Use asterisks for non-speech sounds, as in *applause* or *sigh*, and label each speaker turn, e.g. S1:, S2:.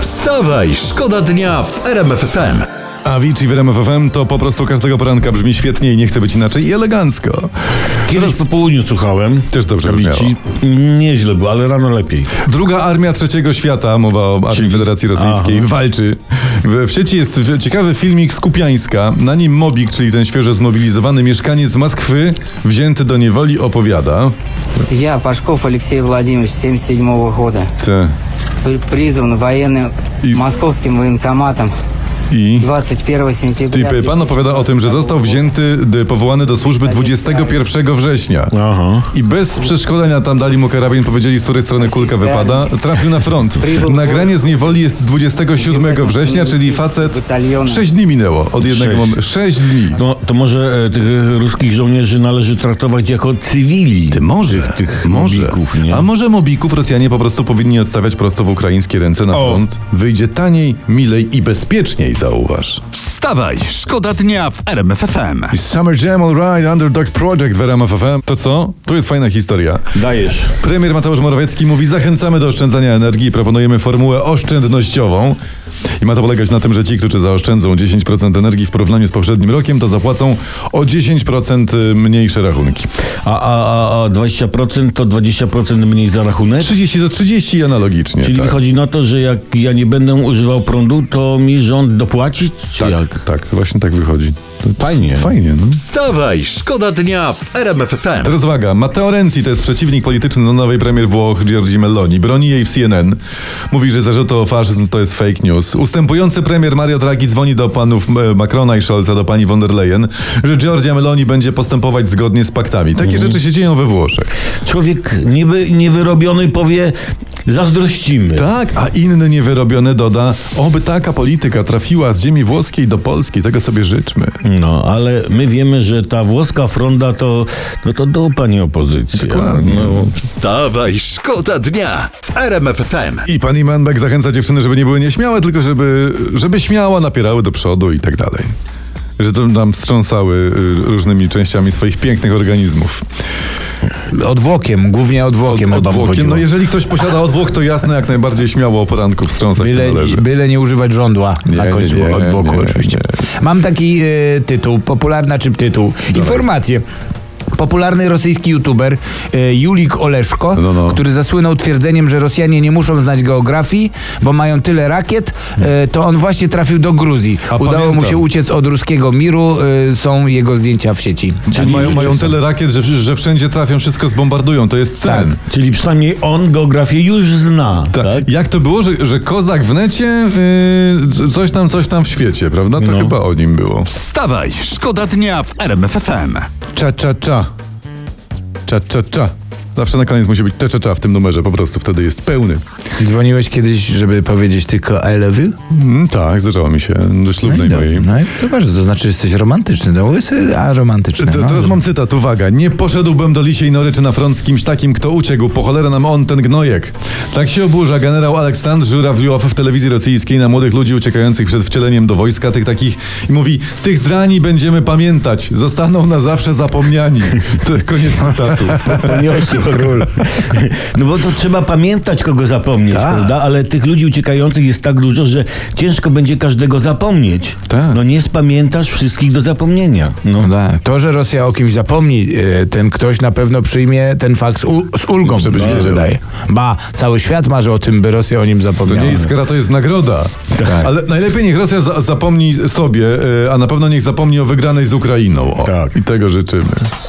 S1: Wstawaj, szkoda dnia w RMFFM.
S2: Avicii w RMF FM to po prostu każdego poranka brzmi świetnie i nie chce być inaczej i elegancko.
S3: Kiedyś po południu słuchałem.
S2: Też dobrze
S3: Kabici. Nieźle było, ale rano lepiej.
S2: Druga armia trzeciego świata, mowa o Armii Federacji Rosyjskiej, walczy. W, w sieci jest w- ciekawy filmik z Kupiańska. Na nim Mobik, czyli ten świeżo zmobilizowany mieszkaniec z Moskwy, wzięty do niewoli, opowiada.
S4: Я, Пашков Алексей Владимирович, 77 года,
S2: Te,
S4: при- призван военным
S2: И-
S4: московским военкоматом
S2: I...
S4: 21
S2: Czyli
S4: сентября.
S2: pan opowiada o tym, że został wzięty, d- powołany do służby 21 września.
S3: Aha.
S2: I bez przeszkolenia tam dali mu karabin, powiedzieli z której strony kulka wypada, trafił na front. Nagranie z niewoli jest z 27 września, czyli facet 6 dni minęło od jednego
S3: Sześć.
S2: momentu. 6 dni.
S3: To, to może e, tych e, ruskich żołnierzy należy traktować jako cywili.
S2: Może,
S3: Tych, tych
S2: Tak, może.
S3: mobików, nie?
S2: A może mobików Rosjanie po prostu powinni odstawiać prosto w ukraińskie ręce na
S3: O.
S2: front? Wyjdzie taniej, milej i bezpieczniej, zauważ.
S1: Wstawaj, szkoda dnia w RMFFM.
S2: Summer Jam All Right, Underdog Project w RMF FM. To co? Tu jest fajna historia.
S3: Dajesz.
S2: Premier Mateusz Morawiecki mówi: Zachęcamy do oszczędzania energii i proponujemy formułę oszczędnościową. I ma to polegać na tym, że ci, którzy zaoszczędzą 10% energii w porównaniu z poprzednim rokiem, to zapłacą o 10% mniejsze rachunki.
S3: A, a, a, a 20% to 20% mniej za rachunek?
S2: 30 do 30 i analogicznie.
S3: Czyli
S2: tak.
S3: wychodzi na to, że jak ja nie będę używał prądu, to mi rząd dopłaci? Czy
S2: tak,
S3: jak?
S2: tak, właśnie tak wychodzi. To- to
S3: Fajnie.
S2: Fajnie, no.
S1: Wstawaj, szkoda dnia w RMFFM.
S2: Teraz uwaga, Matteo Renzi to jest przeciwnik polityczny do nowej premier Włoch Giorgi Meloni. Broni jej w CNN. Mówi, że zarzut o faszyzm to jest fake news. Ustępujący premier Mario Draghi dzwoni do panów e, Macrona i Scholza, do pani von der Leyen, że Giorgia Meloni będzie postępować zgodnie z paktami. Takie rzeczy się dzieją we Włoszech.
S3: Człowiek niby niewyrobiony powie, zazdrościmy.
S2: Tak, a inny niewyrobiony doda, oby taka polityka trafiła z ziemi włoskiej do Polski, tego sobie życzmy.
S3: No, ale my wiemy, że ta włoska fronda to, no to dupa nie opozycja.
S2: Dokładnie.
S3: No,
S1: Wstawaj, szkoda dnia w RMFFM.
S2: I pan Imanbek zachęca dziewczyny, żeby nie były nieśmiałe, tylko żeby, żeby śmiała napierały do przodu i tak dalej. Że tam, tam wstrząsały y, różnymi częściami swoich pięknych organizmów.
S5: Odwłokiem, głównie odwłokiem od,
S2: Odwłokiem.
S5: chodziło.
S2: No jeżeli ktoś posiada odwłok, to jasne, jak najbardziej śmiało o poranku wstrząsać się
S5: Byle,
S2: należy.
S5: byle nie używać żądła na
S2: Nie,
S5: końcu
S2: nie, nie,
S5: odwłoku
S2: nie,
S5: oczywiście. Mam taki e, tytuł, popularna czy tytuł, informacje. Popularny rosyjski youtuber e, Julik Oleszko,
S2: No, no.
S5: który zasłynął twierdzeniem, że Rosjanie nie muszą znać geografii, bo mają tyle rakiet, e, to on właśnie trafił do Gruzji.
S2: A
S5: Udało mu
S2: pamiętam.
S5: się uciec od ruskiego miru, e, są jego zdjęcia w sieci.
S2: Czyli mają, mają tyle rakiet, że, że wszędzie trafią, wszystko zbombardują. To jest
S5: Tak.
S2: ten.
S3: czyli przynajmniej on geografię już zna,
S2: Ta,
S3: tak?
S2: Jak to było, że, że kozak w necie, y, c- coś tam, coś tam w świecie, prawda? To chyba o nim było.
S1: Wstawaj, szkoda dnia w RMFFM.
S2: Cza, cza, cza. Cza, cza, cza. Zawsze na koniec musi być cza, cza, cza w tym numerze, po prostu wtedy jest pełny.
S5: Dzwoniłeś kiedyś, żeby powiedzieć tylko I love you?
S2: Mm, tak, zdarzało mi się, do ślubnej
S5: No i
S2: mojej.
S5: dobrze, no i to bardzo, to znaczy, że jesteś romantyczny. No mówię sobie, a romantyczny.
S2: Te-
S5: no.
S2: Teraz mam cytat, uwaga. Nie poszedłbym do lisiej nory czy na front z kimś takim, kto uciekł. Po cholerę nam on, ten gnojek. Tak się oburza generał Aleksandr Żurawliow w telewizji rosyjskiej na młodych ludzi uciekających przed wcieleniem do wojska, tych takich. I mówi, tych drani będziemy pamiętać. Zostaną na zawsze zapomniani. *laughs* To koniec cytatu.
S3: *laughs* Poniosł król. No bo to trzeba pamiętać, kogo zapomnieć, prawda? Ale tych ludzi uciekających jest tak dużo, że ciężko będzie każdego zapomnieć.
S2: Tak.
S3: No nie spamiętasz wszystkich do zapomnienia. No.
S5: No tak. To, że Rosja o kimś zapomni, e, ten ktoś na pewno przyjmie ten fakt z, u- z ulgą, mi się
S2: wiedział.
S5: wydaje. Ba, cały świat marzy o tym, by Rosja o nim
S2: To
S5: zapomniała.
S2: nie jest kara, to jest nagroda. Ale najlepiej niech Rosja za zapomni sobie, y, a na pewno niech zapomni o wygranej z Ukrainą. O,
S3: Tak.
S2: I tego życzymy.